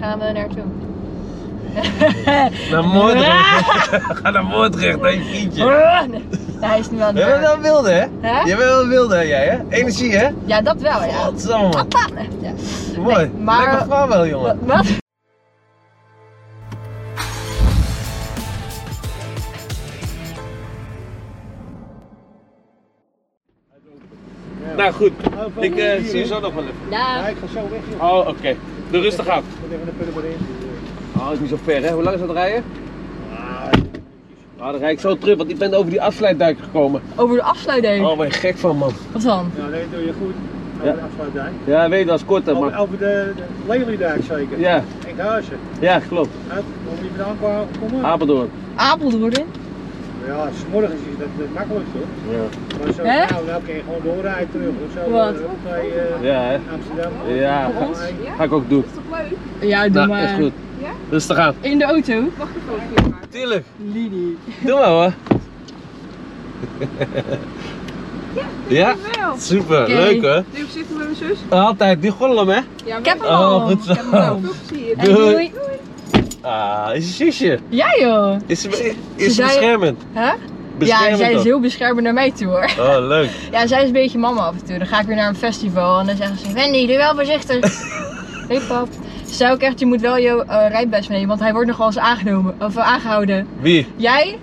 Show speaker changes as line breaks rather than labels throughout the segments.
gaan we naartoe?
Naar Moordrecht. Ga naar Moordrecht, nee, vriendje.
Ah, Nee, hij is nu aan
Jij bent
het
wel wilde, hè?
Hè?
Jij bent wel wilde, hè, jij, hè? Energie, hè?
Ja, dat wel, ja.
Godsamme, man.
Appa! Ja.
Mooi.
Nee, maar-
Lekker vrouw wel, jongen.
Wat? wat?
Nou, goed. Ik eh, zie je zo nog wel even.
Ja,
ik ga zo weg, joh.
Oh, oké. Doe rustig aan.
Ik moet even een pulver in.
Oh, is niet zo ver, hè? Hoe lang is dat rijden? Ah, dan rijd ik zo terug, want ik ben over die afsluitdijk gekomen.
over de afsluiting.
Oh, ben je gek van, man.
Wat dan?
Ja, nee, nou, doe je goed. Nou, Over
Ja.
de afsluitdijk.
Ja, weet je, dat is korter,
Over,
maar...
over de, de Lelydijk zeker.
Ja,
Enkhuizen.
ja, klopt.
Uit, moet je vandaan kwamen komen?
Apeldoorn.
Apeldoorn?
Ja, s'morgens is dat het makkelijkste hoor.
Ja.
Maar zo,
Hè?
nou, nou kun je gewoon doorrijden terug of zo.
Wat?
eh, Op bij eh,
Ja, hè?
Amsterdam.
Ja,
Of
ga,
bij-
ga ik ook doen.
Ja, doe
nou,
maar.
is goed. Rustig aan.
In de auto?
Tuurlijk.
Lidie.
Doe maar, hoor. Ja, super.
Oké.
Leuk, hoor.
Nu zitten we met mijn zus.
Altijd, die golem, hè?
Ja,
Ik heb hem al.
Oh, goed zo.
Ik heb hem al.
Toch zie je.
Hey, doei.
Ah, is je zusje.
Ja joh.
Is ze,
Ze
is ze
zei-
beschermend?
Hè? Ja,
Beschermend
zij is
ook.
heel beschermend naar mij toe hoor.
Oh, leuk.
Ja, zij is een beetje mama af en toe. Dan ga ik weer naar een festival en dan zeggen ze: Wendy, doe wel voorzichtig. Hé pap. Ze zei ook echt: Je moet wel je eh rijbewijs meenemen, want hij wordt nogal eens aangenomen, of eh, aangehouden.
Wie?
Jij?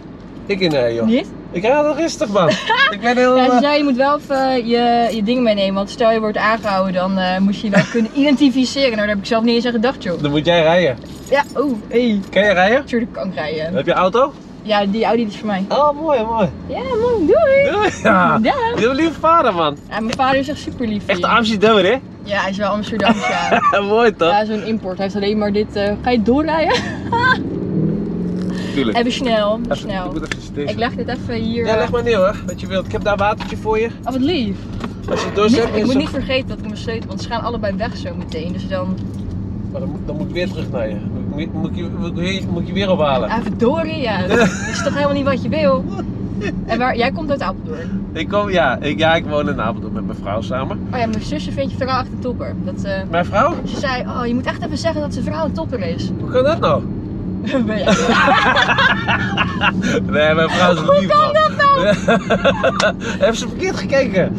Ik in de joh.
Niet?
Ik rijd wel rustig, man. ik ben heel...
Ja, ze
eh,
zei: Je moet wel even je, je ding meenemen, want stel je wordt aangehouden, dan eh moet je je wel kunnen identificeren. Nou, daar heb ik zelf niet eens aan gedacht, joh.
Dan moet jij rijden.
Ja, oh, hé.
Kan jij rijden?
Natuurlijk kan ik rijden.
Heb je auto?
Ja, die Audi die is voor mij.
Oh, mooi, mooi.
Ja, man, doei.
Doei. Ja.
Ja.
Je hebt een lieve vader, man.
Ja, mijn vader is echt super lief.
Echt Amsterdam, hè?
Ja, hij is wel Amsterdamse. ja.
mooi, toch?
Ja, zo'n import. Hij heeft alleen maar dit. eh, ga je doorrijden?
Tuurlijk.
Even snel, even
Even- Ik
snel.
moet even
Ik
deze.
leg dit even hier.
Ja, leg maar neer, hoor. Wat je wilt. Ik heb daar watertje voor je.
Oh, wat lief.
Als je het doorzet,
Niet- ik
is
moet
het-
niet vergeten dat ik mijn sleutel, want ze gaan allebei weg zo meteen. Dus dan,
Maar dan, moet- dan moet ik weer terug naar je. Moet, moet, ik je- moet, ik je- moet ik je weer ophalen?
ah, verdorie, ja. Dat is toch helemaal niet wat je wil? En waar, jij komt uit Apeldoorn.
Ik kom, ja, ik, ja, ik woon in Apeldoorn met mijn vrouw samen.
Oh ja, mijn zusje vindt je vrouw echt een topper. Dat, eh,
Mijn vrouw?
ze zei, oh, je moet echt even zeggen dat zijn vrouw een topper is.
Hoe kan dat nou?
Ben jij-
Nee, mijn vrouw is een lief man.
dat nou?
Heeft ze verkeerd gekeken?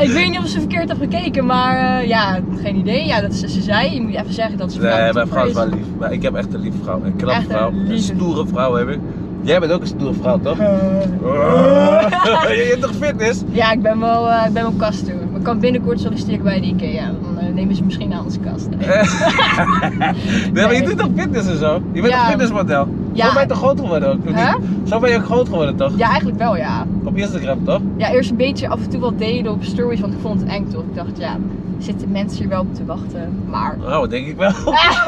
ik weet niet of ze verkeerd heeft gekeken, maar eh, ja, geen idee. Ja, dat ze, ze zei, je moet even zeggen dat ze vrouw
Nee,
een
mijn
topper
vrouw is
is.
wel lief. Maar ik heb echt een lieve vrouw. Een knappe
Echt een
vrouw. Een
lieve. Eh.
stoere vrouw heb ik. Jij bent ook een stoere vrouw, toch? Oh. je hebt toch fitness?
Ja, ik ben wel, eh, ik ben wel kast toe. Maar ik kan binnenkort solliciteren bij de IKEA. Dan eh, nemen ze misschien aan onze kast.
Eh. Nee, maar je doet toch fitness en zo? Je bent
Ja.
een fitnessmodel.
Ja.
Zo ben je toch groot geworden ook? of
Hè?
niet? Zo ben je ook groot geworden, toch?
Ja, eigenlijk wel ja.
Op Instagram, toch?
Ja, eerst een beetje af en toe wat delen op stories, want ik vond het eng toch. Ik dacht, ja, zitten mensen hier wel op te wachten? Maar...
Nou, denk ik wel.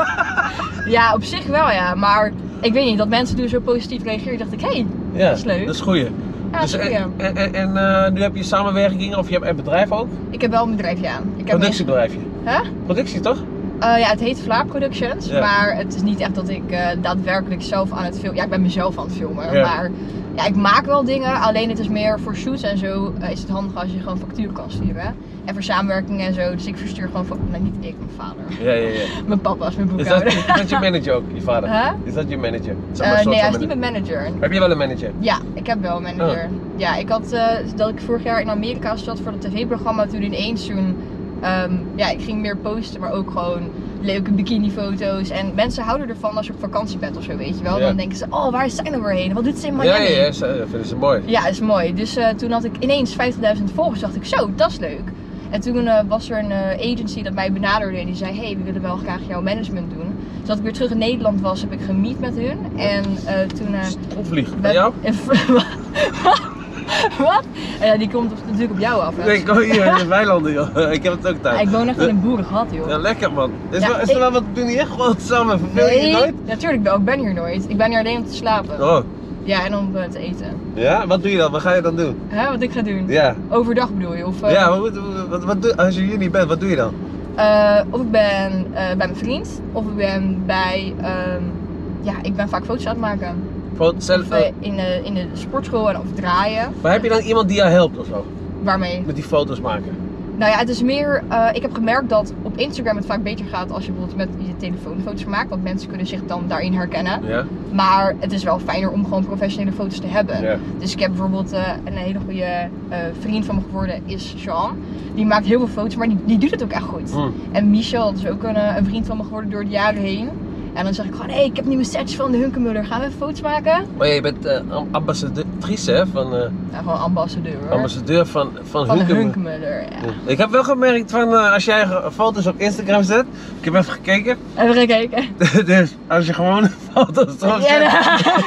Ja, op zich wel ja, maar ik weet niet, dat mensen toen zo positief reageerden, dacht ik, hé, hey,
Ja,
Dat is leuk.
Dat is goeie.
ja,
dus,
dat is goed, ja.
en en, en, en, eh, nu heb je samenwerkingen of je hebt een bedrijf ook?
Ik heb wel een bedrijfje aan. Ik heb een-
Productiebedrijfje.
Hè?
Productie toch?
Eh, ja, het heet Vlaar Productions,
Ja.
maar het is niet echt dat ik eh, daadwerkelijk zelf aan het filmen... Ja, ik ben mezelf aan het filmen,
Ja.
maar ja, ik maak wel dingen, alleen het is meer voor shoots en zo eh, is het handig als je gewoon facturen kan sturen. En voor samenwerkingen en zo, dus ik verstuur gewoon... fac- Nee, niet ik, mijn vader.
Ja, ja, ja.
Mijn papa is mijn
Is dat,
boekhouder.
is dat je manager ook, je vader?
Huh?
Is dat je manager? Zeg maar
Eh,
een soort
nee, hij
van
is niet mijn manager.
Heb je wel een manager?
Ja, ik heb wel een
Oh.
manager. Ja, ik had eh, dat ik vorig jaar in Amerika zat voor dat tv-programma. Toen ineens toen, ehm, ja, ik ging meer posten, maar ook gewoon leuke bikinifoto's. En mensen houden ervan als je op vakantie bent of zo, weet je wel.
Ja.
Dan denken ze, oh, waar is zij nou weer heen? Wat doet ze in
ja,
Miami?
ja, ja, ze- dat vinden ze mooi.
Ja, is mooi. Dus eh, toen had ik ineens 50.000 volgers. dacht ik, zo, dat is leuk. En toen eh, was er een eh, agency dat mij benaderde en die zei, hey, we willen wel graag jouw management doen. Dus dat ik weer terug in Nederland was, heb ik gemiet met hun. En eh, toen... eh,
Stroefvlieg.
we-
Bij jou?
en v- Wat? Eh, Ja, die komt op- natuurlijk op jou af. hè.
Ik denk, oh hier in de weilanden joh. Ik heb het ook
Ja,
daar.
ik woon echt in een boerengat,
Ja,
joh.
lekker man. Is,
Ja,
wel- is
ik-
er wel wat te doen hier? Gewoon samen, verveel je je nooit?
Natuurlijk wel, ik ben hier nooit. Ik ben hier alleen om te slapen.
Oh,
Ja, en om eh, te eten.
ja? Wat doe je dan? Wat ga je dan doen?
Hè, wat ik ga doen.
Ja.
Overdag bedoel je? Of, eh,
Ja, wat, wat, wat, wat doe- als je hier niet bent, wat doe je dan?
eh, of ik ben eh, bij mijn vriend, of ik ben bij... ehm, ja, ik ben vaak foto's aan het maken.
Gewoon zelf.
Of eh, in, de, in de sportschool en of draaien.
Maar heb je dan iemand die jou helpt of zo?
Waarmee?
Met die foto's maken?
Nou ja, het is meer. eh, ik heb gemerkt dat op Instagram het vaak beter gaat als je bijvoorbeeld met je telefoon foto's maakt. Want mensen kunnen zich dan daarin herkennen.
Ja?
Maar het is wel fijner om gewoon professionele foto's te hebben.
Ja.
Dus ik heb bijvoorbeeld eh, een hele goede eh, vriend van me geworden, is Sean. Die maakt heel veel foto's, maar die, die doet het ook echt goed.
Hm.
En Michel, dat is ook een, eh, een vriend van me geworden door de jaren heen. En dan zeg ik gewoon, hé, hey, ik heb nieuwe sets van de Hunkemuller, gaan we even foto's maken?
Maar je bent eh, am- ambassadrice hè, van, eh,
Nou, gewoon ambassadeur hoor.
ambassadeur van, van,
van de
Hunkemuller.
Hunkemuller, ja.
Ja. Ik heb wel gemerkt van eh, als jij ge- foto's op Instagram zet, ik heb even gekeken,
Even gaan kijken.
dus als je gewoon foto's
Ja,
erop zet,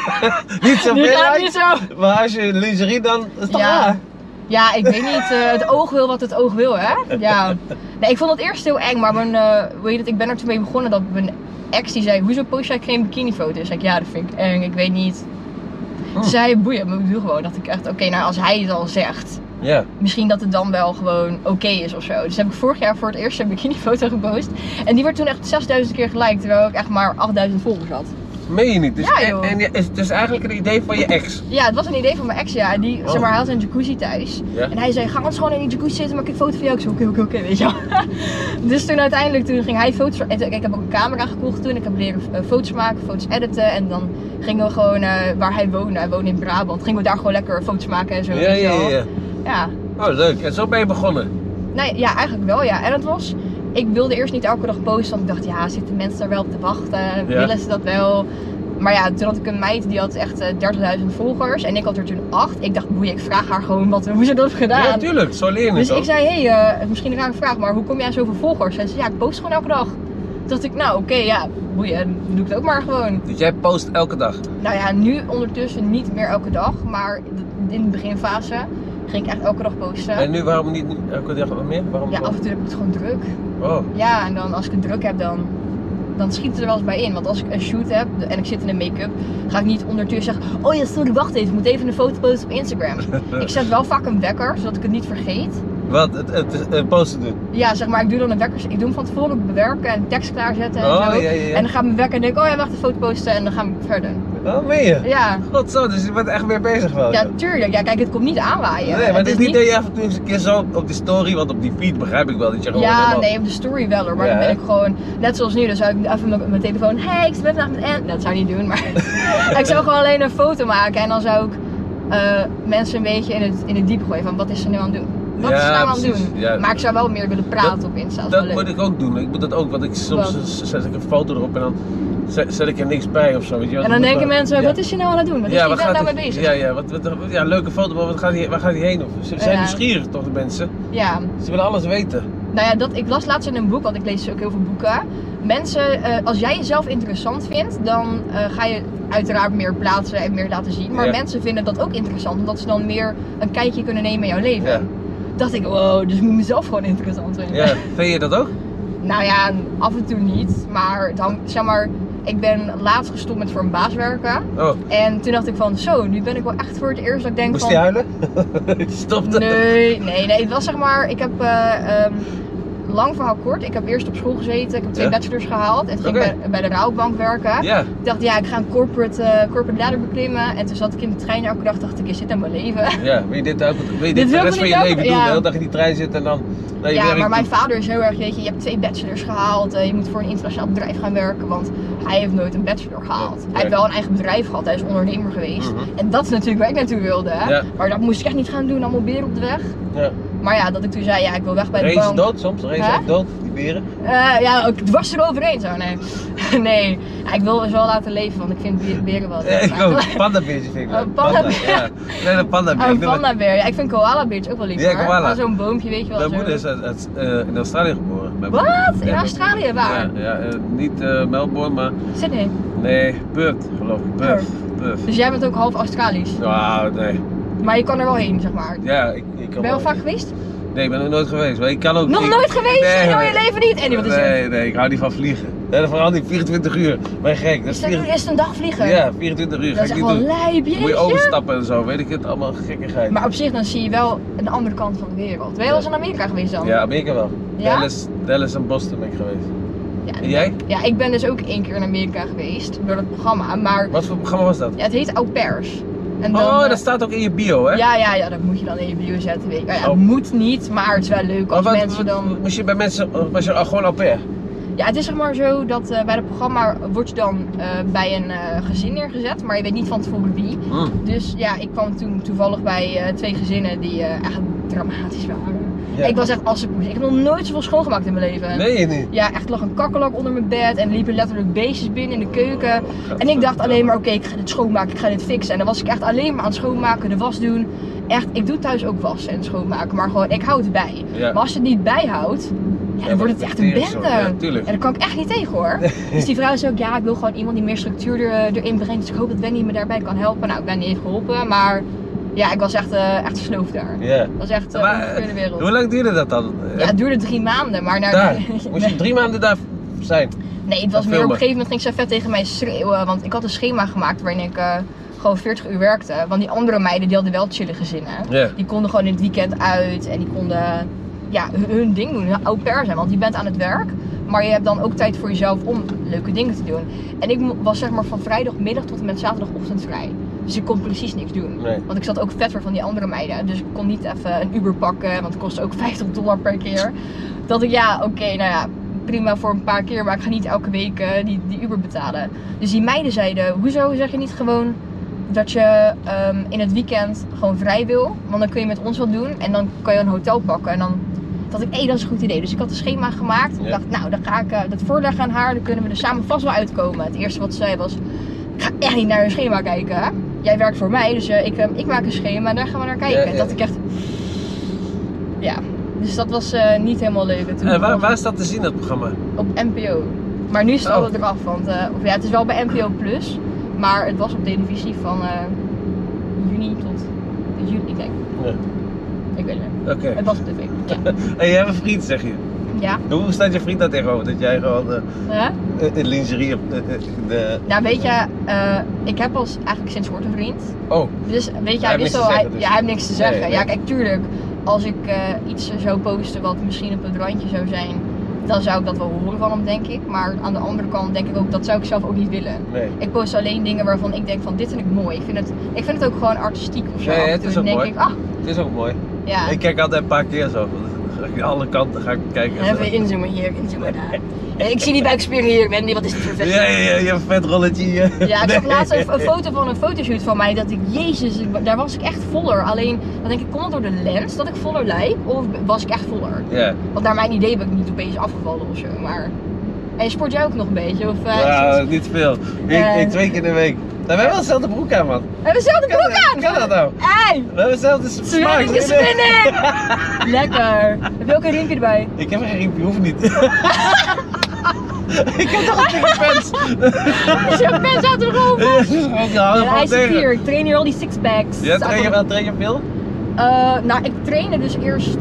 niet zo
nu
veel
gaat het
likes,
niet zo.
maar als je lingerie dan, is toch
Ja.
waar?
Ja, ik weet niet. eh, het oog wil wat het oog wil, hè? Ja. Nee, ik vond het eerst heel eng, maar mijn, eh, hoe heet het, ik ben er toen mee begonnen dat mijn ex die zei, hoezo post jij geen bikinifoto's? Zei ik, ja, dat vind ik eng, ik weet niet. Toen
Hm.
zei hij, boeien, maar ik doe gewoon. Dacht ik echt, oké, nou als hij het al zegt,
Ja.
misschien dat het dan wel gewoon oké is of zo. Dus heb ik vorig jaar voor het eerst een bikinifoto gepost. En die werd toen echt 6000 keer geliked, terwijl ik echt maar 8000 volgers had.
Meen je niet? Dus,
Ja,
en,
joh.
en je- is het dus eigenlijk een idee van je ex.
Ja, het was een idee van mijn ex, ja. Die,
Oh.
zeg maar, hij had een jacuzzi thuis.
Ja.
En hij zei, ga ons gewoon in die jacuzzi zitten, maak ik een foto van jou. Ik zei, oké, oké, oké, weet je wel. dus toen uiteindelijk, toen ging hij foto's... En toen- ik heb ook een camera gekocht toen. Ik heb leren eh, foto's maken, foto's editen. En dan gingen we gewoon, eh, waar hij woonde, hij woonde in Brabant, gingen we daar gewoon lekker foto's maken en zo.
Ja,
weet je
ja,
wel.
ja.
Ja.
Oh, leuk. En zo ben je begonnen.
Nee, ja, eigenlijk wel, ja. En het was... Ik wilde eerst niet elke dag posten, want ik dacht, ja, zitten mensen daar wel op te wachten? Willen ze dat wel? Maar ja, toen had ik een meid die had echt eh, 30.000 volgers en ik had er toen 8. Ik dacht, boeien, ik vraag haar gewoon wat, hoe ze dat heeft gedaan.
Ja, tuurlijk. Zo leer je het
dus ik
ook.
zei, hé, hey, misschien een rare vraag, maar hoe kom jij aan zoveel volgers? En ze zei, ja, ik post gewoon elke dag. Toen dacht ik, nou oké, ja, boeien, dan doe ik het ook maar gewoon.
Dus jij post elke dag.
Nou ja, nu ondertussen niet meer elke dag, maar in de beginfase ging ik echt elke dag posten.
En nu, waarom niet eh, nu- elke dag wat meer? Waarom
Ja, af en toe heb ik het gewoon druk.
Oh,
Ja, en dan als ik het druk heb, dan, dan schiet het er wel eens bij in. Want als ik een shoot heb en ik zit in een make-up, ga ik niet ondertussen zeggen: Oh ja, sorry, wacht even, ik moet even een foto posten op Instagram. ik zet wel vaak een wekker, zodat ik het niet vergeet.
wat? Het, het, het, eh, posten doen.
Ja, zeg maar, ik doe dan een wekker. Ik doe hem van tevoren bewerken en tekst klaarzetten en
Oh,
zo.
ja, ja, ja.
En dan gaat mijn wekker en denk: ik, Oh ja, wacht, een foto posten en dan gaan we verder.
Oh, meen je?
Ja.
God zo, dus je bent echt weer bezig wel.
Ja,
joh.
tuurlijk. Ja, kijk, het komt niet aanwaaien.
nee, maar het is niet
niet-
dat je af en toe eens een keer zo op, op die story, want op die feed begrijp ik wel dat je gewoon
Ja,
helemaal-
nee, op de story wel hoor. Maar
Ja,
dan
hè?
ben ik gewoon, net zoals nu, dan zou ik even met mijn telefoon. Hey, ik ben vandaag met en. Dat zou ik niet doen, maar ik zou gewoon alleen een foto maken en dan zou ik eh, mensen een beetje in het, in het diep gooien van wat is ze nu aan het doen? Wat
Ja,
is ze nou aan het
precies.
doen?
Ja.
Maar ik zou wel meer willen praten op Insta. Dat, is
Dat
wel
moet
leuk.
ik ook doen. Ik moet dat ook, want ik soms
Wat?
z- zet ik een foto erop en dan zet, zet ik er niks bij of zo. Weet je, want
En dan
het moet
denken
wel-
mensen,
Ja.
wat is je nou aan het doen? Wat is
waar
die vent
gaat
nou mee
het-
bezig?
Ja, ja, wat, wat, wat- ja, leuke foto, maar wat gaat die, waar gaat die heen? Of, ze zijn
Ja.
nieuwsgierig toch, de mensen?
ja.
Ze willen alles weten.
Nou ja, dat, ik las laatst in een boek, want ik lees dus ook heel veel boeken. Mensen, eh, als jij jezelf interessant vindt, dan eh, ga je uiteraard meer plaatsen en meer laten zien. Maar
Ja.
mensen vinden dat ook interessant, omdat ze dan meer een kijkje kunnen nemen in jouw leven.
Ja.
Dacht ik, wow, dus ik moet mezelf gewoon interessant vinden.
Ja. Vind je dat ook?
Nou ja, af en toe niet, maar het hangt, zeg maar, ik ben laatst gestopt met voor een baas werken.
Oh,
En toen dacht ik van, zo, nu ben ik wel echt voor het eerst dat ik denk
moest
van...
je huilen? Stop dat.
Nee, nee, nee. Het was zeg maar, ik heb eh, ehm, lang verhaal kort. Ik heb eerst op school gezeten, ik heb twee
Ja.
bachelors gehaald en toen ging
Oké.
ik bij, bij de Rauwbank werken.
Ja,
Ik dacht, ja, ik ga een corporate, eh, corporate ladder beklimmen. En toen zat ik in de trein elke dag, dacht ik, is dit nou mijn leven?
ja. Wil je dit ook? Wil je dit,
Dit
de
wil
rest
ik
van je
niet
leven
ook,
doen?
ja.
De hele dag in die trein zitten en dan naar je
Ja,
werk
maar mijn
toe?
vader is heel erg, weet je, je hebt twee bachelors gehaald. eh, je moet voor een internationaal bedrijf gaan werken, want hij heeft nooit een bachelor gehaald. Hij heeft
Nee.
wel een eigen bedrijf gehad, hij is ondernemer geweest.
Mhm.
En dat is natuurlijk waar ik naartoe wilde. Hè?
Ja.
Maar dat moest ik echt niet gaan doen, allemaal beren op de weg.
Ja.
Maar ja, dat ik toen zei, ja, ik wil weg bij de
Racen
bank.
dood soms, racen
Hè?
ook dood, die beren.
Eh, ja, ook dwars eroverheen zo, nee. nee, Ja, ik wil ze wel laten leven, want ik vind be- beren wel
Ja,
leuk.
ik ook. Pandabeertje vind ik
Oh,
leuk.
pandabeer.
Ja. Nee, een pandabeer.
Een
Ik vind dat-
pandabeer, ja, ik vind koalabeertjes ook wel lief
Ja,
hoor.
koala.
Maar zo'n boompje, weet je wel.
Mijn
zo.
moeder is uit, uit, eh, in Australië geboren. Mijn moeder.
Wat? In
Ja,
Australië, waar?
Ja, ja eh, niet eh, Melbourne, maar
Sydney.
nee, Perth geloof ik. Perth. Perth.
Dus jij bent ook half Australisch.
Nou, nee.
Maar je kan er wel heen, zeg maar.
Ja, ik, ik kan
ben je al
wel-
vaak geweest?
Nee, ik ben er nooit geweest. Maar ik kan ook
Nog
ik-
nooit geweest?
Nee,
in heel
nee.
je leven niet? En wat is het?
Nee, nee, ik hou niet van vliegen. Nee, vooral niet 24 uur. Ben gek. Dat
Is
is
dat nu
24
eerst een dag vliegen?
Ja, 24 uur.
dat
ga
is
ik
echt
niet
wel
doen.
lijp,
Moet je
jeetje.
overstappen en zo, weet ik het. Allemaal gekkigheid.
Maar op zich dan zie je wel een andere kant van de wereld. Ben je wel eens in Amerika geweest dan?
Ja, Amerika wel.
Ja?
Dallas, Dallas en Boston ben ik geweest.
Ja,
En jij?
Ja, ik ben dus ook één keer in Amerika geweest door dat programma, maar
Wat voor programma was dat?
ja, het heet Au Pairs. En En dan,
Oh,
eh,
dat staat ook in je bio, hè?
Ja, ja, ja, dat moet je dan in je bio zetten. Weet ik. Maar ja, het
Oh.
moet niet, maar het is wel leuk
Maar
als
wat,
mensen
wat-
dan...
moest je bij mensen, was je al gewoon au pair?
Ja, het is zeg maar zo dat eh, bij het programma word je dan eh, bij een eh, gezin neergezet, maar je weet niet van tevoren wie.
Hm,
Dus ja, ik kwam toen toevallig bij eh, twee gezinnen die eh, echt dramatisch waren.
Ja.
Ik was echt assenpoes. Ik heb nog nooit zoveel schoongemaakt in mijn leven.
Nee, je niet.
Ja, echt lag een kakkelak onder mijn bed en liepen letterlijk beestjes binnen in de keuken. En ik dacht alleen maar, oké, ik ga dit schoonmaken, ik ga dit fixen. En dan was ik echt alleen maar aan het schoonmaken, de was doen. Echt, ik doe thuis ook wassen en schoonmaken, maar gewoon, ik hou het bij.
Ja.
Maar als je het niet bijhoudt, ja, dan wordt het echt een
Teringzooi, Ja,
bende.
tuurlijk.
En daar kan ik echt niet tegen hoor. Dus die vrouw zei ook, ja, ik wil gewoon iemand die meer structuur er, erin brengt. Dus ik hoop dat Wendy me daarbij kan helpen. Nou, Wendy heeft geholpen, maar ja, ik was echt, eh echt sloof daar.
Ja.
Dat was echt eh,
Maar,
ongeveer de wereld.
Hoe lang duurde dat dan? Eh,
Ja, het duurde drie maanden, maar na...
daar. Moest je drie maanden daar zijn?
Nee, het was meer op
Gaan filmen.
een gegeven moment ging zij vet tegen mij schreeuwen. Want ik had een schema gemaakt waarin ik eh, gewoon 40 uur werkte. Want die andere meiden die hadden wel chillen gezinnen.
Ja.
Die konden gewoon in het weekend uit en die konden ja, hun, hun ding doen, hun au pair zijn. Want je bent aan het werk, maar je hebt dan ook tijd voor jezelf om leuke dingen te doen. En ik mo- was zeg maar van vrijdagmiddag tot en met zaterdagochtend vrij. Dus ik kon precies niks doen.
Nee.
Want ik zat ook vet ver van die andere meiden. Dus ik kon niet even een Uber pakken, want het kostte ook 50 dollar per keer. Dat ik, ja, oké, nou ja, prima voor een paar keer, maar ik ga niet elke week eh, die, die Uber betalen. Dus die meiden zeiden, hoezo zeg je niet gewoon dat je ehm, in het weekend gewoon vrij wil? Want dan kun je met ons wat doen en dan kan je een hotel pakken. En dan dacht ik, hé, dat is een goed idee. Dus ik had een schema gemaakt. Ik
Ja.
dacht, nou, dan ga ik eh, dat voorleggen aan haar. Dan kunnen we er samen vast wel uitkomen. Het eerste wat ze zei was, ik ga echt niet naar hun schema kijken. hè. Jij werkt voor mij, dus eh, ik, eh, ik maak een schema en daar gaan we naar kijken.
Ja,
En
ja.
dat ik echt... Ja, dus dat was eh, niet helemaal leuk. En toen
En waar,
begon-
waar is dat te zien, dat programma?
op NPO. Maar nu is het
Oh.
al eraf, want eh, of ja, het is wel bij NPO Plus, maar het was op televisie van eh, juni tot juli, ik denk.
Ja.
Ik weet het niet.
Oké.
Het was op tv. Ja.
En jij hebt een vriend, zeg je.
ja.
Hoe staat je vriend daar tegenover? Dat jij gewoon eh,
Hè?
eh, in lingerie op eh, eh, de...
Nou weet je, eh, ik heb al s- eigenlijk sinds kort een vriend.
Oh,
Dus weet je,
Hij
hij,
heeft niks
wist
te
al, hij,
zeggen dus.
ja, hij heeft niks te zeggen.
nee.
Ja, kijk, tuurlijk, als ik eh, iets zou posten wat misschien op het randje zou zijn, dan zou ik dat wel horen van hem, denk ik. Maar aan de andere kant denk ik ook, dat zou ik zelf ook niet willen.
nee.
Ik post alleen dingen waarvan ik denk van dit vind ik mooi. Ik vind het, ik vind het ook gewoon artistiek of zo.
Nee,
Af en
het
toe
is ook
denk
mooi.
ik, ah,
Het is ook mooi.
ja.
Ik kijk altijd een paar keer zo. want dan ga ik Alle kanten ga ik kijken. en zo.
Even inzoomen hier, inzoomen daar. Nee, ik zie die buikspieren hier, ik ben niet, wat is dit voor vet?
Ja, ja, ja, je hebt een vet rolletje hier.
Ja, ik zag
Nee.
laatst een, een foto van een fotoshoot van mij dat ik, jezus, ik- daar was ik echt voller. Alleen, dan denk ik, komt het door de lens dat ik voller lijk? Of was ik echt voller?
Ja,
Want naar mijn idee ben ik niet opeens afgevallen of zo, maar... En sport jij ook nog een beetje? Of, eh, is
nou,
het-
niet veel.
Eh.
Ik, ik twee keer in de week. Nou, we hebben wel dezelfde broek aan, man.
We hebben dezelfde
Kan
broek
dat-
aan!
kan dat nou?
Hey,
We hebben dezelfde s- smaak.
Zwinning is
hoor.
spinning! Lekker! Heb je ook een riempje erbij?
Ik heb geen riempje, hoeft niet. ik heb toch een dikke pens.
Is jouw pens uit de rol?
Ja, ik
Ja, hij
hou er gewoon
is een vier.
tegen.
Ik train hier al die sixpacks.
Ja, train je wel, train je veel?
Eh, nou, ik trainde dus eerst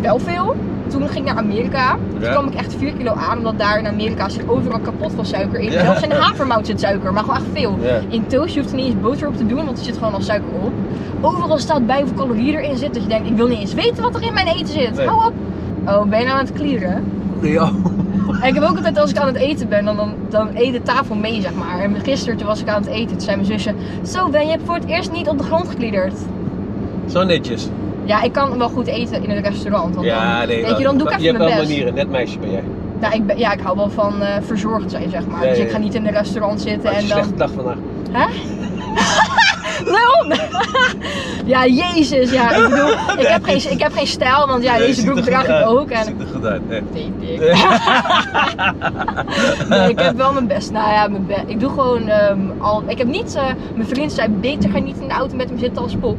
wel veel. Toen ging ik naar Amerika. Toen
Ja.
kwam ik echt 4 kilo aan, omdat daar in Amerika zit overal kapot van suiker in.
Ja.
Zelfs in de havermout zit suiker, maar gewoon echt veel.
Ja.
In toast, je hoeft er niet eens boter op te doen, want er zit gewoon al suiker op. Overal staat bij hoeveel calorieën erin zit, dat je denkt, ik wil niet eens weten wat er in mijn eten zit.
Nee.
Hou op! Oh, ben je nou aan het klieren?
Ja.
En ik heb ook altijd als ik aan het eten ben, dan, dan, dan eet de tafel mee, zeg maar. En gisteren toen was ik aan het eten, toen zei mijn zusje, zo Ben, je hebt voor het eerst niet op de grond gekliederd.
Zo netjes.
Ja, ik kan wel goed eten in een restaurant, want dan, weet je, dan doe ik
Je
even
hebt
mijn
wel
best.
manieren, net meisje ben jij.
Nou, ik ben, ja, ik hou wel van eh, verzorgd zijn, zeg maar.
Ja,
dus
ja,
ik ga
ja.
niet in een restaurant zitten
Had je
en
een
dan...
slechte dag vandaag.
Hè? Leon! ja, jezus, ja. Ik bedoel, ik heb geen, ik heb geen stijl, want ja,
Nee,
deze
ziet er
broek
goed
draag ik
uit.
ook. En...
Ziet er goed uit, nee.
Nee, dik. Nee, ik heb wel mijn best. Nou ja, mijn best. Ik doe gewoon ehm, al... Ik heb niet... eh, mijn vriend zei, beter ga niet in de auto met hem zitten als pop.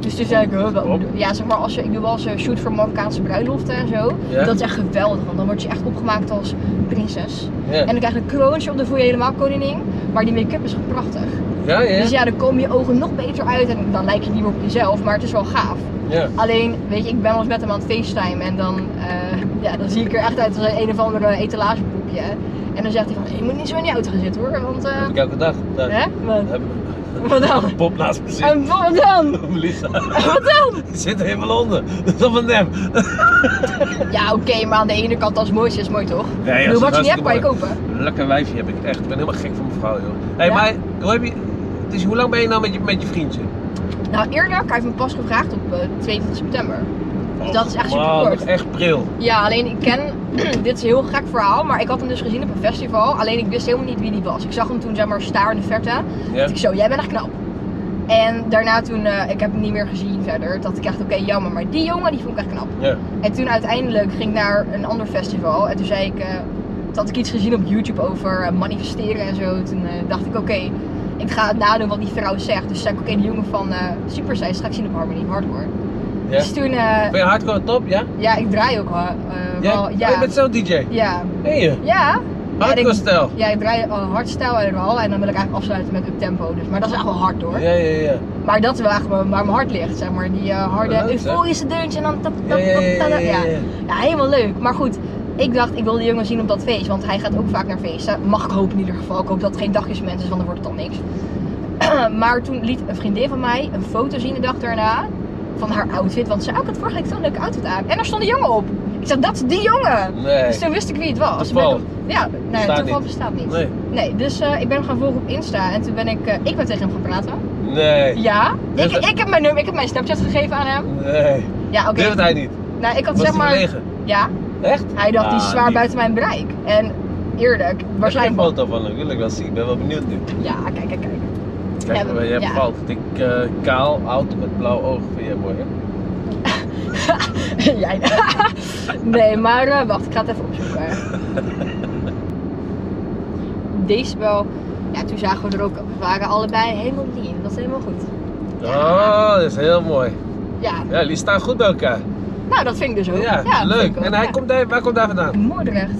Dus toen zei ik, huh, wat moet ik doen? ja, zeg maar, als je, ik doe wel eens een shoot voor Marokkaanse bruiloften en zo.
Ja.
Dat is echt geweldig, want dan word je echt opgemaakt als prinses.
Ja.
En dan krijg je een kroontje op, dan voel je je helemaal koningin. Maar die make-up is gewoon prachtig.
Ja, ja.
Dus ja, dan komen je ogen nog beter uit en dan lijk je niet meer op jezelf, maar het is wel gaaf.
ja.
Alleen, weet je, ik ben wel eens met hem aan het facetime en dan, eh, ja, dan zie ik er echt uit als een, een of andere etalagepoepje. En dan zegt hij van, "Hey, je moet niet zo in die auto gaan zitten hoor, want... eh,
Dat heb ik elke dag. Daar
hè? Wat,
heb ik
wat dan?
een pop naast me zitten.
En wat dan?
Melissa,
Wat dan?
die zit helemaal onder. Dat is op een nep.
Ja, oké, maar aan de ene kant als het mooiste is mooi toch?
ja,
ik
dat
bedoel,
is
wat je niet hebt
hartstikke
kan je kopen.
Lekker wijfje heb ik echt. Ik ben helemaal gek van mevrouw, joh. Hé, hey,
Ja?
maar hoe heb je... het is, hoe lang ben je nou met je, met je vriendje?
Nou, eerlijk, hij heeft me pas gevraagd op eh 2 september. Dus dat is echt
Man,
superkort.
nog Oh, echt pril.
Ja, alleen ik ken, dit is een heel gek verhaal, maar ik had hem dus gezien op een festival. Alleen ik wist helemaal niet wie die was. Ik zag hem toen, zeg maar, staar in de verte.
Ja.
Dus Ik zo, jij bent echt knap. En daarna toen, eh, ik heb hem niet meer gezien verder. Dat ik echt, oké, jammer. Maar die jongen, die vond ik echt knap.
Ja.
En toen uiteindelijk ging ik naar een ander festival. En toen zei ik, eh, toen had ik iets gezien op YouTube over eh, manifesteren en zo. Toen eh, dacht ik, oké, ik ga het nadoen wat die vrouw zegt. Dus zei ik, oké, die jongen van eh Super Size ga ik zien op Harmony Hardcore.
Ja.
Dus toen, eh,
Ben je hardcore top, ja?
ja, ik draai ook eh, eh,
Ja.
wel.
Oh,
Ja,
je bent zelf DJ.
ja,
Nee je?
ja. Ja,
Hardcore
ik-
stijl.
Ja, ik draai eh, hardstyle en al. En dan wil ik eigenlijk afsluiten met uptempo. Dus, maar dat is echt wel hard hoor.
Ja, ja, ja.
Maar dat is wel eigenlijk waar mijn hart ligt, zeg maar. Die eh, harde
Oh, Leuk, zeg.
euforische deuntje en dan... Tap, tap,
Ja, ja,
tap,
ja,
tap,
ja,
tap.
ja,
Ja,
ja.
Ja, helemaal leuk. Maar goed, ik dacht, ik wil die jongen zien op dat feest, want hij gaat ook vaak naar feesten. Mag ik hopen in ieder geval. Ik hoop dat het geen dagjesmens is, want dan wordt het dan niks. maar toen liet een vriendin van mij een foto zien de dag daarna van haar outfit. Want ze had het vorige week zo'n leuke outfit aan. En daar stond een jongen op. Ik zeg, dat is die jongen.
Nee.
Dus toen wist ik wie het was.
Toeval.
Ik ben- Ja, nee,
Bestaat
toeval
niet.
bestaat niet.
Nee.
Nee, dus eh, ik ben hem gaan volgen op Insta en toen ben ik, eh, ik ben tegen hem gaan praten.
Nee.
Ja, ik,
Dus het-
ik heb mijn nummer, ik heb mijn Snapchat gegeven aan hem.
Nee.
Ja, oké.
Durft hij niet?
Nou, ik had
Was
zeg
hij
maar.
verlegen?
Ja,
Echt?
hij dacht die is
Ah,
zwaar
lief.
buiten mijn bereik. En eerlijk,
Ik heb geen
waarschijnlijk.
foto van hem, wil ik wel zien. Ik ben wel benieuwd nu.
Ja, kijk, kijk, kijk.
Kijk,
Ja,
maar je hebt
ja.
valt. Ik eh, kaal, oud met blauw oog vind jij mooi, hè?
Jij. nee, maar eh, wacht, ik ga het even opzoeken. Deze wel. Ja, toen zagen we er ook. We waren allebei helemaal lean. Dat is helemaal goed.
Oh, dat is heel mooi.
Ja,
Ja, die staan goed bij elkaar.
nou dat vind ik dus ook.
Ja,
dat vind
leuk.
ik ook,
En hij
ja.
komt daar, waar komt hij vandaan?
Moordrecht.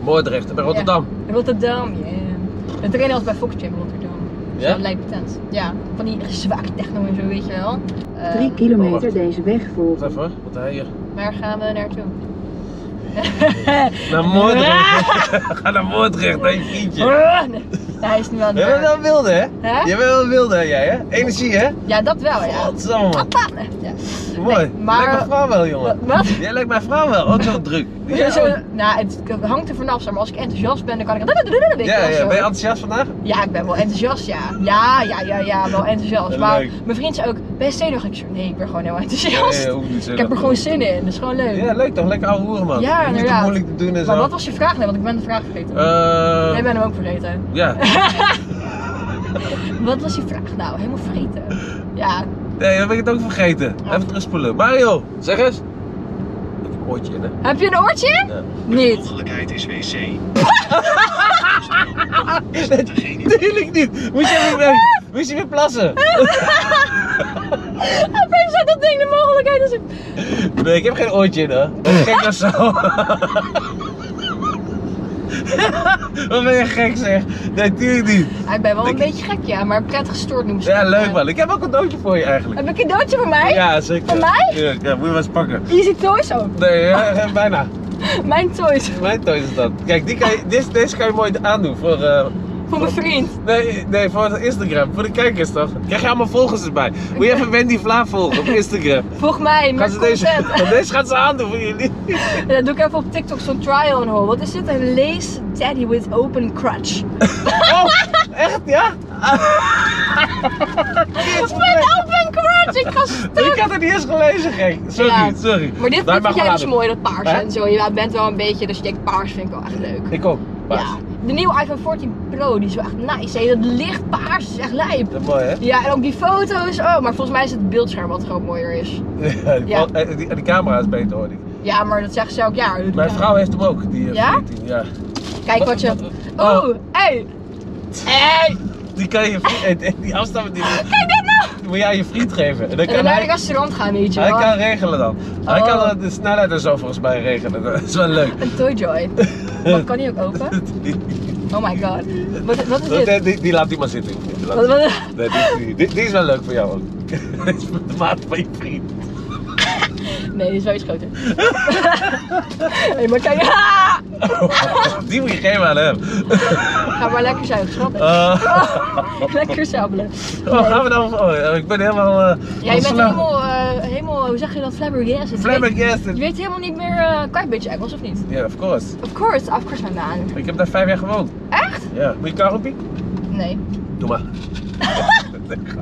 Moordrecht, bij Rotterdam.
Rotterdam, ja. We trainen altijd bij Fox Gym Rotterdam.
Ja?
Zo lijkt patent. Ja, van die zwakke techno en zo, weet je wel. Ehm,
3
Oh, wacht.
kilometer deze weg volgen.
Wacht even hoor, wat hij hier.
Waar gaan we naartoe?
Naar Moordrecht. Ga naar Moordrecht, hè, je vriendje.
Ah, nee. Ja, hij is nu aan
Je bent
het
wel wilde, hè?
Hè?
Je bent wel wilde, hè, jij, hè? Energie, hè?
Ja, dat wel, ja.
Godsamme.
Papa! Ja.
Mooi.
maar-
Lijkt mijn vrouw wel, jongen.
Wat? wat?
Jij lijkt mijn vrouw wel, ook zo druk. oh.
Ja, zo,
ook.
nou, het hangt er vanaf, zeg maar als ik enthousiast ben, dan kan ik... weet je
ja,
wel,
ja.
zo.
Ben je enthousiast vandaag?
Ja, ik ben wel enthousiast, ja. Ja, ja, ja, ja, wel enthousiast. Maar
Leuk.
mijn vriend zei ook, ben je zenuwachtig? Ik zei, nee, ik ben gewoon heel
Ja,
enthousiast.
ja, hoef niet zo.
Ik heb er gewoon zin in, dat is gewoon leuk.
Ja, leuk toch? Lekker ouwe hoeren, man.
Ja,
Niet te
inderdaad.
moeilijk te doen en zo.
Maar wat was je vraag nou? Want ik ben de vraag vergeten.
Eh,
Jij bent hem ook vergeten.
Ja.
Wat was je vraag nou? Helemaal vergeten. Ja,
Nee, dan ben ik het ook vergeten. Even terugspoelen. Mario, zeg eens. Oh. Met een oortje in, hè?
heb je een oortje?
Ja.
Niet.
Mogelijkheid is wc. is dat degene?
Tuurlijk niet. Moest je weer, eh, moest je weer plassen?
Opeens had dat ding de mogelijkheid. Dus ik...
Nee, ik heb geen oortje in, hoor. Kijk nou zo. Wat ben je gek, zeg. Nee, tuurlijk niet.
Ah, ik ben wel een
Denk ik.
beetje gek, ja, maar prettig gestoord noemen ze
Ja,
dat,
leuk, man. Ik heb ook een doodje voor je, eigenlijk.
Heb ik een cadeautje voor mij?
Ja, zeker.
Voor mij?
Tuurlijk, ja, moet je wel eens pakken.
Easy Toys ook.
Nee, ja, eh, bijna.
Mijn toys.
Mijn toy is dat. Kijk, die kan je, dit, deze kan je mooi aandoen voor... eh,
Voor mijn vriend.
Nee, nee, voor het Instagram, voor de kijkers toch? Krijg je allemaal volgers erbij. Moet je even Wendy Vla volgen op Instagram.
Volg mij,
Gaat
mijn
ze deze,
content.
deze gaat ze aandoen voor jullie.
En dan doe ik even op TikTok zo'n trial en hoor. Wat is dit? Een lace daddy with open crutch.
Oh, echt ja?
Met open crutch, ik ga
Ik
stuk.
had het niet eens gelezen, gek. Sorry,
Ja.
sorry.
Maar dit, dit
Laat
vind
gewoon
jij dus
aan.
mooi, dat paars
Hè?
en zo. Je bent wel een beetje, dus je denkt paars vind ik wel echt leuk.
Ik ook. Paars.
Ja, de nieuwe iPhone 14 Pro, die is wel echt nice. Hè? Dat licht paars is echt lijp.
Dat is mooi, hè?
Ja, en ook die foto's. Oh, maar volgens mij is het beeldscherm wat gewoon mooier is.
Ja, die,
Ja.
bal- eh, die, die camera is beter, hoor ik.
Ja, maar dat zeggen ze elk jaar. Dat doe
Mijn
ik
vrouw heeft hem ook, die eh,
Ja?
14, ja.
ook. Kijk wat je...
Oh.
Oeh, hey. Hey.
Die kan je... eh, Die afstand die
Kijk dit nou.
moet jij aan je vriend geven. En
En dan
dan kan
naar een
hij...
restaurant gaan, weet je
Hij
wel.
kan regelen dan. Hij
Oh.
kan eh, de snelheid en zo volgens mij regelen. Dat is wel leuk.
Een Toyjoy. Wat kan die ook open? Oh my god. Wat, wat is
Dat-
dit?
Die, die, die laat die maar zitten. Die laat
Wat- wat-
die- Nee, die, die, die- die is wel leuk voor jou ook. Dit is voor de maat van je vriend.
Nee, die is wel iets groter. Nee, maar kijk. Ah!
Die moet je geven aan hem.
Ga maar lekker zuigen, schat.
Oh,
Lekker sabbelen.
oh, gaan we dan... Oh, ik ben helemaal... eh
Ja, je bent
ontslagen.
helemaal, eh, helemaal, hoe zeg je dat, flabbergasted. Je
Flabbergasted.
weet helemaal niet meer, eh, kan je een beetje Engels of niet?
Ja, of course.
Of course, of course my man.
Ik heb daar vijf jaar gewoond.
Echt?
Ja. Moet je karrepie?
Nee.
Doe maar.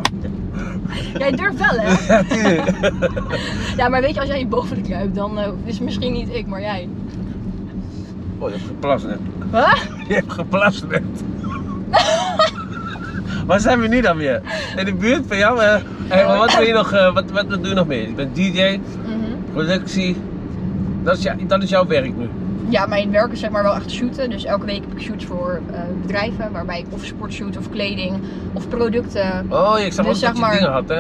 Jij durft wel, hè? ja, maar weet je, als jij je boven de kruipt, dan eh, is het misschien niet ik, maar jij.
Oh, je hebt geplast net.
Huh?
Je hebt geplast net. Waar zijn we nu dan weer? In de buurt van jou? eh? Hey, maar wat, wil je nog, eh, wat, wat, wat doe je nog meer? Je bent DJ,
Mhm.
productie. Dat is, jou- dat is jouw werk nu.
Ja, mijn werk is zeg maar wel echt shooten. Dus elke week heb ik shoots voor eh, bedrijven, waarbij ik of sport shoot, of kleding, of producten.
Oh, ik zag
Dus
ook
zeg
dat je
maar-
dingen had, hè?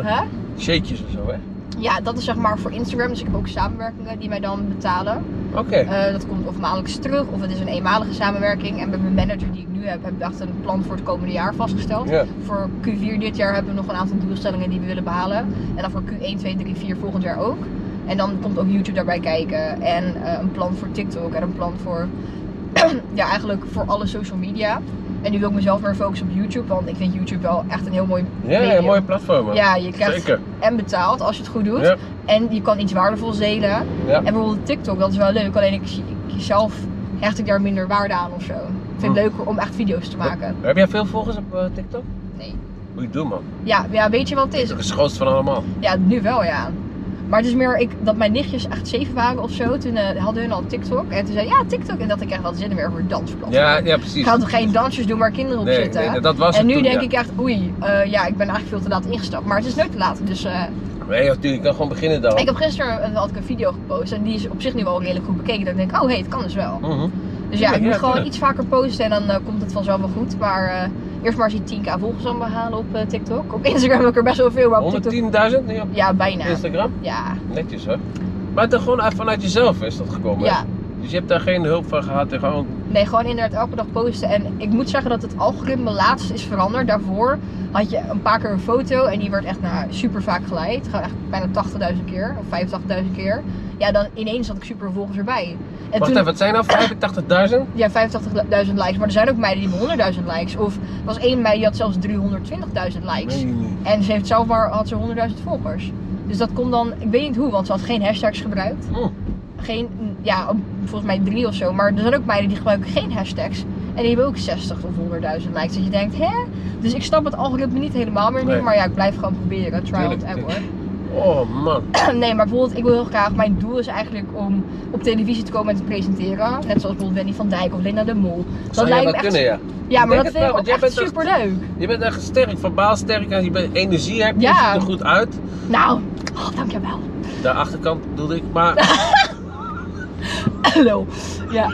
Eh,
Huh?
shakejes en zo, hè?
Ja, dat is zeg maar voor Instagram. Dus ik heb ook samenwerkingen die mij dan betalen.
Oké.
Eh, dat komt of maandelijks terug, of het is een eenmalige samenwerking. En bij mijn manager die ik nu heb, heb ik echt een plan voor het komende jaar vastgesteld.
Ja.
Voor Q4 dit jaar hebben we nog een aantal doelstellingen die we willen behalen. En dan voor Q1, 2, 3, 4 volgend jaar ook. En dan komt ook YouTube daarbij kijken. En eh, een plan voor TikTok en een plan voor, ja, eigenlijk voor alle social media. En nu wil ik mezelf weer focussen op YouTube, want ik vind YouTube wel echt een heel mooi
Ja,
medium.
een mooie platform. hè?
Ja, je krijgt
Zeker.
en betaald als je het goed doet.
Ja.
En je kan iets waardevols delen.
Ja.
En bijvoorbeeld TikTok, dat is wel leuk. Alleen ik, ik zelf hecht ik daar minder waarde aan of zo. Ik vind het
Hm.
leuker om echt video's te maken.
Heb jij veel volgers op eh, TikTok?
Nee.
Moet je doen, man.
Ja, ja, weet je wat het is?
Dat is het grootste van allemaal.
Ja, nu wel ja. Maar het is meer ik, dat mijn nichtjes echt zeven waren of zo. Toen eh, hadden hun al TikTok. En toen zei ja, TikTok. En dat ik echt wel zin meer voor dansplatform.
Ja, ja
Ik
precies.
ga toch geen dansjes doen waar kinderen op
nee,
zitten.
nee, dat was
en
het
nu
toen,
denk
ja.
ik echt, oei, eh, ja, ik ben eigenlijk veel te laat ingestapt. Maar het is nooit te laat. Dus eh,
Nee, natuurlijk. Je kan gewoon beginnen dan.
Ik heb gisteren eh, had ik een video gepost en die is op zich nu wel redelijk goed bekeken. Dat ik denk, oh hé, hey, het kan dus wel.
Mhm.
Dus ja,
Ja,
ik
ja,
moet gewoon
tuurlijk.
iets vaker posten en dan eh, komt het vanzelf wel goed. Maar eh, eerst maar eens die 10k volgers aan behalen op eh, TikTok. Op Instagram heb ik er best wel veel, maar op TikTok...
110.000 nu op
Ja, bijna.
Instagram?
Ja,
Netjes hoor. Maar het is gewoon echt vanuit jezelf is dat gekomen. hè?
ja.
Dus je hebt daar geen hulp van gehad en gewoon.
Nee, gewoon inderdaad elke dag posten. En ik moet zeggen dat het algoritme laatst is veranderd. Daarvoor had je een paar keer een foto en die werd echt nou, super vaak geleid. Gewoon echt bijna 80.000 keer of 85.000 keer. Ja, dan ineens had ik super volgers erbij. En
Wacht
toen-
even, wat zijn nou 85.000?
ja, 85.000 likes. Maar er zijn ook meiden die hebben 100.000 likes. Of er was één meid die had zelfs 320.000 likes.
niet.
En ze heeft zelf maar had ze 100.000 volgers. Dus dat komt dan, ik weet niet hoe, want ze had geen hashtags gebruikt.
Hm.
Geen, ja, volgens mij drie of zo. Maar er zijn ook meiden die gebruiken geen hashtags. En die hebben ook 60 of 100.000 likes. Dat je denkt, hè? Dus ik snap het algoritme niet helemaal meer nu.
Nee.
Maar ja, ik blijf gewoon proberen. Trial and
Tuurlijk,
error.
Oh man.
Nee, maar bijvoorbeeld, ik wil heel graag, mijn doel is eigenlijk om op televisie te komen en te presenteren. Net zoals bijvoorbeeld Wendy van Dijk of Linda de Mol.
Zou jij
lijkt
dat
me echt
kunnen, ja?
Ja, maar
denk
dat
het
vind
wel,
ik ook
want jij
echt
bent echt-
superleuk.
Je bent echt sterk, verbaal sterk en je bent energie hebt,
Ja.
je ziet er goed uit.
Nou, oh, dankjewel.
De achterkant bedoelde ik, maar.
Hallo. Ja.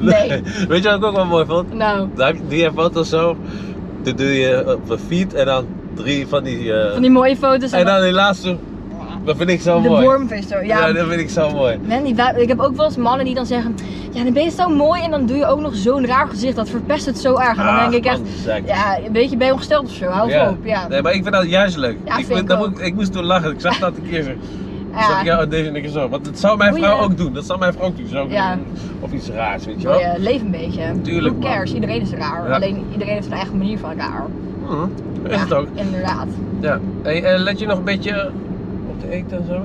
nee,
Weet je wat ik ook wel mooi vond?
nou,
Dan heb je- doe je een foto zo, dan doe je op een feed en dan drie van die. eh,
van die mooie foto's.
en dan die laatste, dat vind ik zo
de
mooi.
wormvisser. Ja,
ja, dat vind ik zo mooi.
Man, die wa- ik heb ook wel eens mannen die dan zeggen, ja dan ben je zo mooi en dan doe je ook nog zo'n raar gezicht, dat verpest het zo erg. En
Ah,
dan denk ik echt, ja, een beetje ben je ongesteld of zo, hou op. Ja.
Nee, maar ik vind dat juist leuk.
Ja,
ik,
vind ik
dat
ook.
moet- ik moest toen lachen. Ik zag dat een keer zo. Ik zag
Ja.
ik jou deze en ik zo. Want dat zou mijn
Moet
vrouw
je-
ook doen. Dat zou mijn vrouw ook doen. Zou ook
Ja.
doen. Of iets raars, weet je wel.
Mooi, eh, leef een beetje.
Tuurlijk,
Who cares? Iedereen is raar.
Ja.
Alleen iedereen heeft een eigen manier van raar.
Hm, is
Ja,
het ook.
Inderdaad.
Ja. Hey, eh, let je nog een beetje op de eten en zo?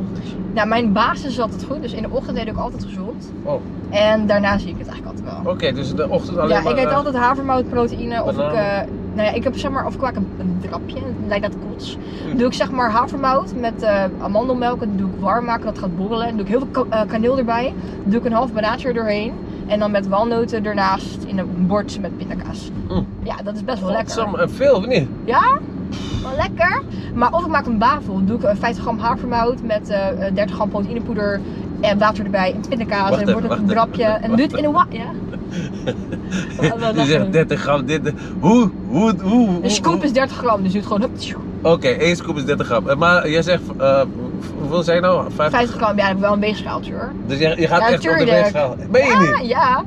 Nou, mijn basis is altijd goed, dus in de ochtend eet ik altijd gezond.
Oh,
En daarna zie ik het eigenlijk altijd
oké.
wel.
dus de ochtend alleen
ja,
maar...
ik eet
eh,
altijd havermoutproteïne of ik,
banaan.
eh, nou ja, ik heb zeg maar, of ik maak een, een drapje, het lijkt dat kots. Dan doe ik zeg maar havermout met eh, amandelmelk, en doe ik warm maken, dat gaat borrelen. En doe ik heel veel ka- eh, kaneel erbij, Dan doe ik een half banaantje erdoorheen. En dan met walnoten ernaast in een bord met pindakaas.
Mm.
Ja, dat is best wel lekker.
godsamme, en veel, of niet?
Ja? Wel lekker. Maar of ik maak een wafel. Doe ik eh, 50 gram havermout met eh, eh, 30 gram proteïnepoeder en water erbij en pindakaas.
Wacht
en wordt
even,
het een
wacht
drapje.
even, Dus
En doe het in een wa... Ja? Wat- wat
Je
lachen we?
zegt 30 gram, dit... Hoe, hoe, hoe... hoe-
Een scoop
hoe-
is 30 gram, dus doe het gewoon hup, tjoe.
Oké, één scoop is 30 gram. Eh, Maar jij zegt... eh, hoeveel zijn nou? 50
50 gram, ja, ik heb wel een weegschaaltje hoor.
Dus je, je gaat
Ja,
echt op de
tuurlijk.
weegschaal. Ben je
Ja,
niet?
ja.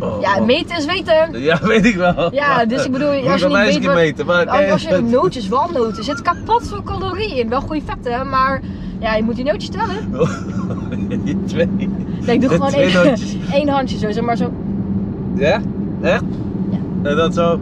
Oh,
Ja,
oh.
meten is weten.
Ja, weet ik wel.
Ja, dus ik bedoel,
Moet
als je
bij
niet
mij eens
weet
een
wat-
keer meten, maar
Als
nee,
als je nootjes, walnoten, er zit kapot veel calorieën in. Wel goede vetten, maar ja, je moet die nootjes tellen.
Die twee.
Nee, ik doe
Met
gewoon
twee
één,
nootjes. Oh.
één handje zo, zeg maar zo.
Ja? Echt?
Ja.
En dat zo.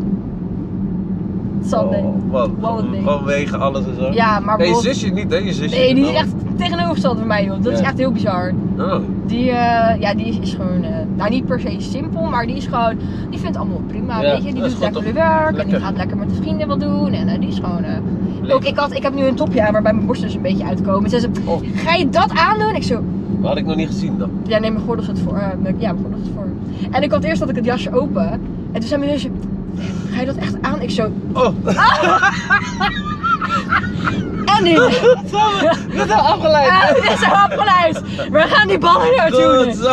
Sunday.
Nou, Oh, wat?
Wallenweg.
Vanwege alles en zo?
Ja, maar
Nee, je
bijvoorbeeld-
zusje niet, hè? Je zusje
Nee, die
wel.
is echt tegenovergesteld bij mij, joh. Dat is
Ja.
echt heel bizar.
Oh.
Die, eh, ja, die is, is gewoon, eh, nou niet per se simpel, maar die is gewoon, die vindt het allemaal prima,
Ja,
weet je. Die
dat is
doet
goed,
lekker de
toch?
werk en die
Lekker.
gaat lekker met de vrienden wat doen en eh, die is gewoon... eh,
Lekker.
ook, ik, had, ik heb nu een topje aan waarbij mijn borsten dus een beetje uitkomen. Ze zei,
Oh.
ga je dat aandoen? Ik zo,
Dat had ik nog niet gezien dan.
ja nee, mijn gordel zit voor. eh, mijn- ja, mijn gordel zit voor. En ik had eerst dat ik het jasje open en toen zei mijn zusje, ga je dat echt aan? Ik zo,
Oh,
en nu!
dat is afgeleid.
Ah, dit is afgeleid! We gaan die ballen naartoe!
Goed
doen.
zo.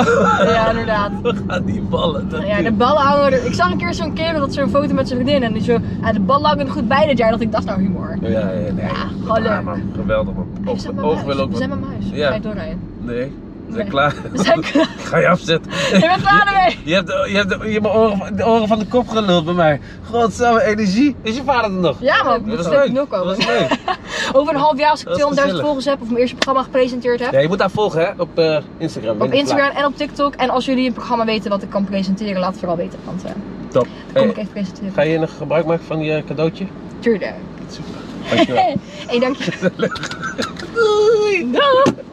Ja, inderdaad.
We gaan die ballen. Dat
Nou Ja, de ballenhouder. Ik zag een keer zo'n kerel dat zo'n foto met zijn vriendin en die zo. Ja, de bal hangt er goed bij dit jaar. Dat ik dacht nou humor.
Oh, Ja, ja, nee.
gewoon leuk.
man. Geweldig, man.
Hey, we
Oog,
zijn bij
oog
muis.
wil ook
We
wat-
zijn mijn muis.
Ja.
Ga je doorrijden.
Nee, we zijn
Nee.
klaar.
We zijn klaar.
Ga je afzetten.
Je bent klaar ermee.
Je hebt, je hebt, je hebt mijn oren, van- de oren van de kop geluld bij mij. Godsamme, energie. Is je vader er nog?
Ja man,
Dat
moet
is
stuk
leuk.
nul
Dat
komen.
is leuk.
Over een half jaar als ik
Dat is
200.000
gezellig.
volgers heb of mijn eerste programma gepresenteerd heb.
Ja, je moet haar volgen hè, op eh, Instagram.
Op Instagram en op TikTok. En als jullie een programma weten wat ik kan presenteren, laat het vooral weten. Want eh,
Top.
dan kom
Hey,
ik even presenteren.
ga je nog gebruik maken van die eh, cadeautje?
Tuurlijk.
Super. Dankjewel.
Hey, dank je.
Doei.
Doei.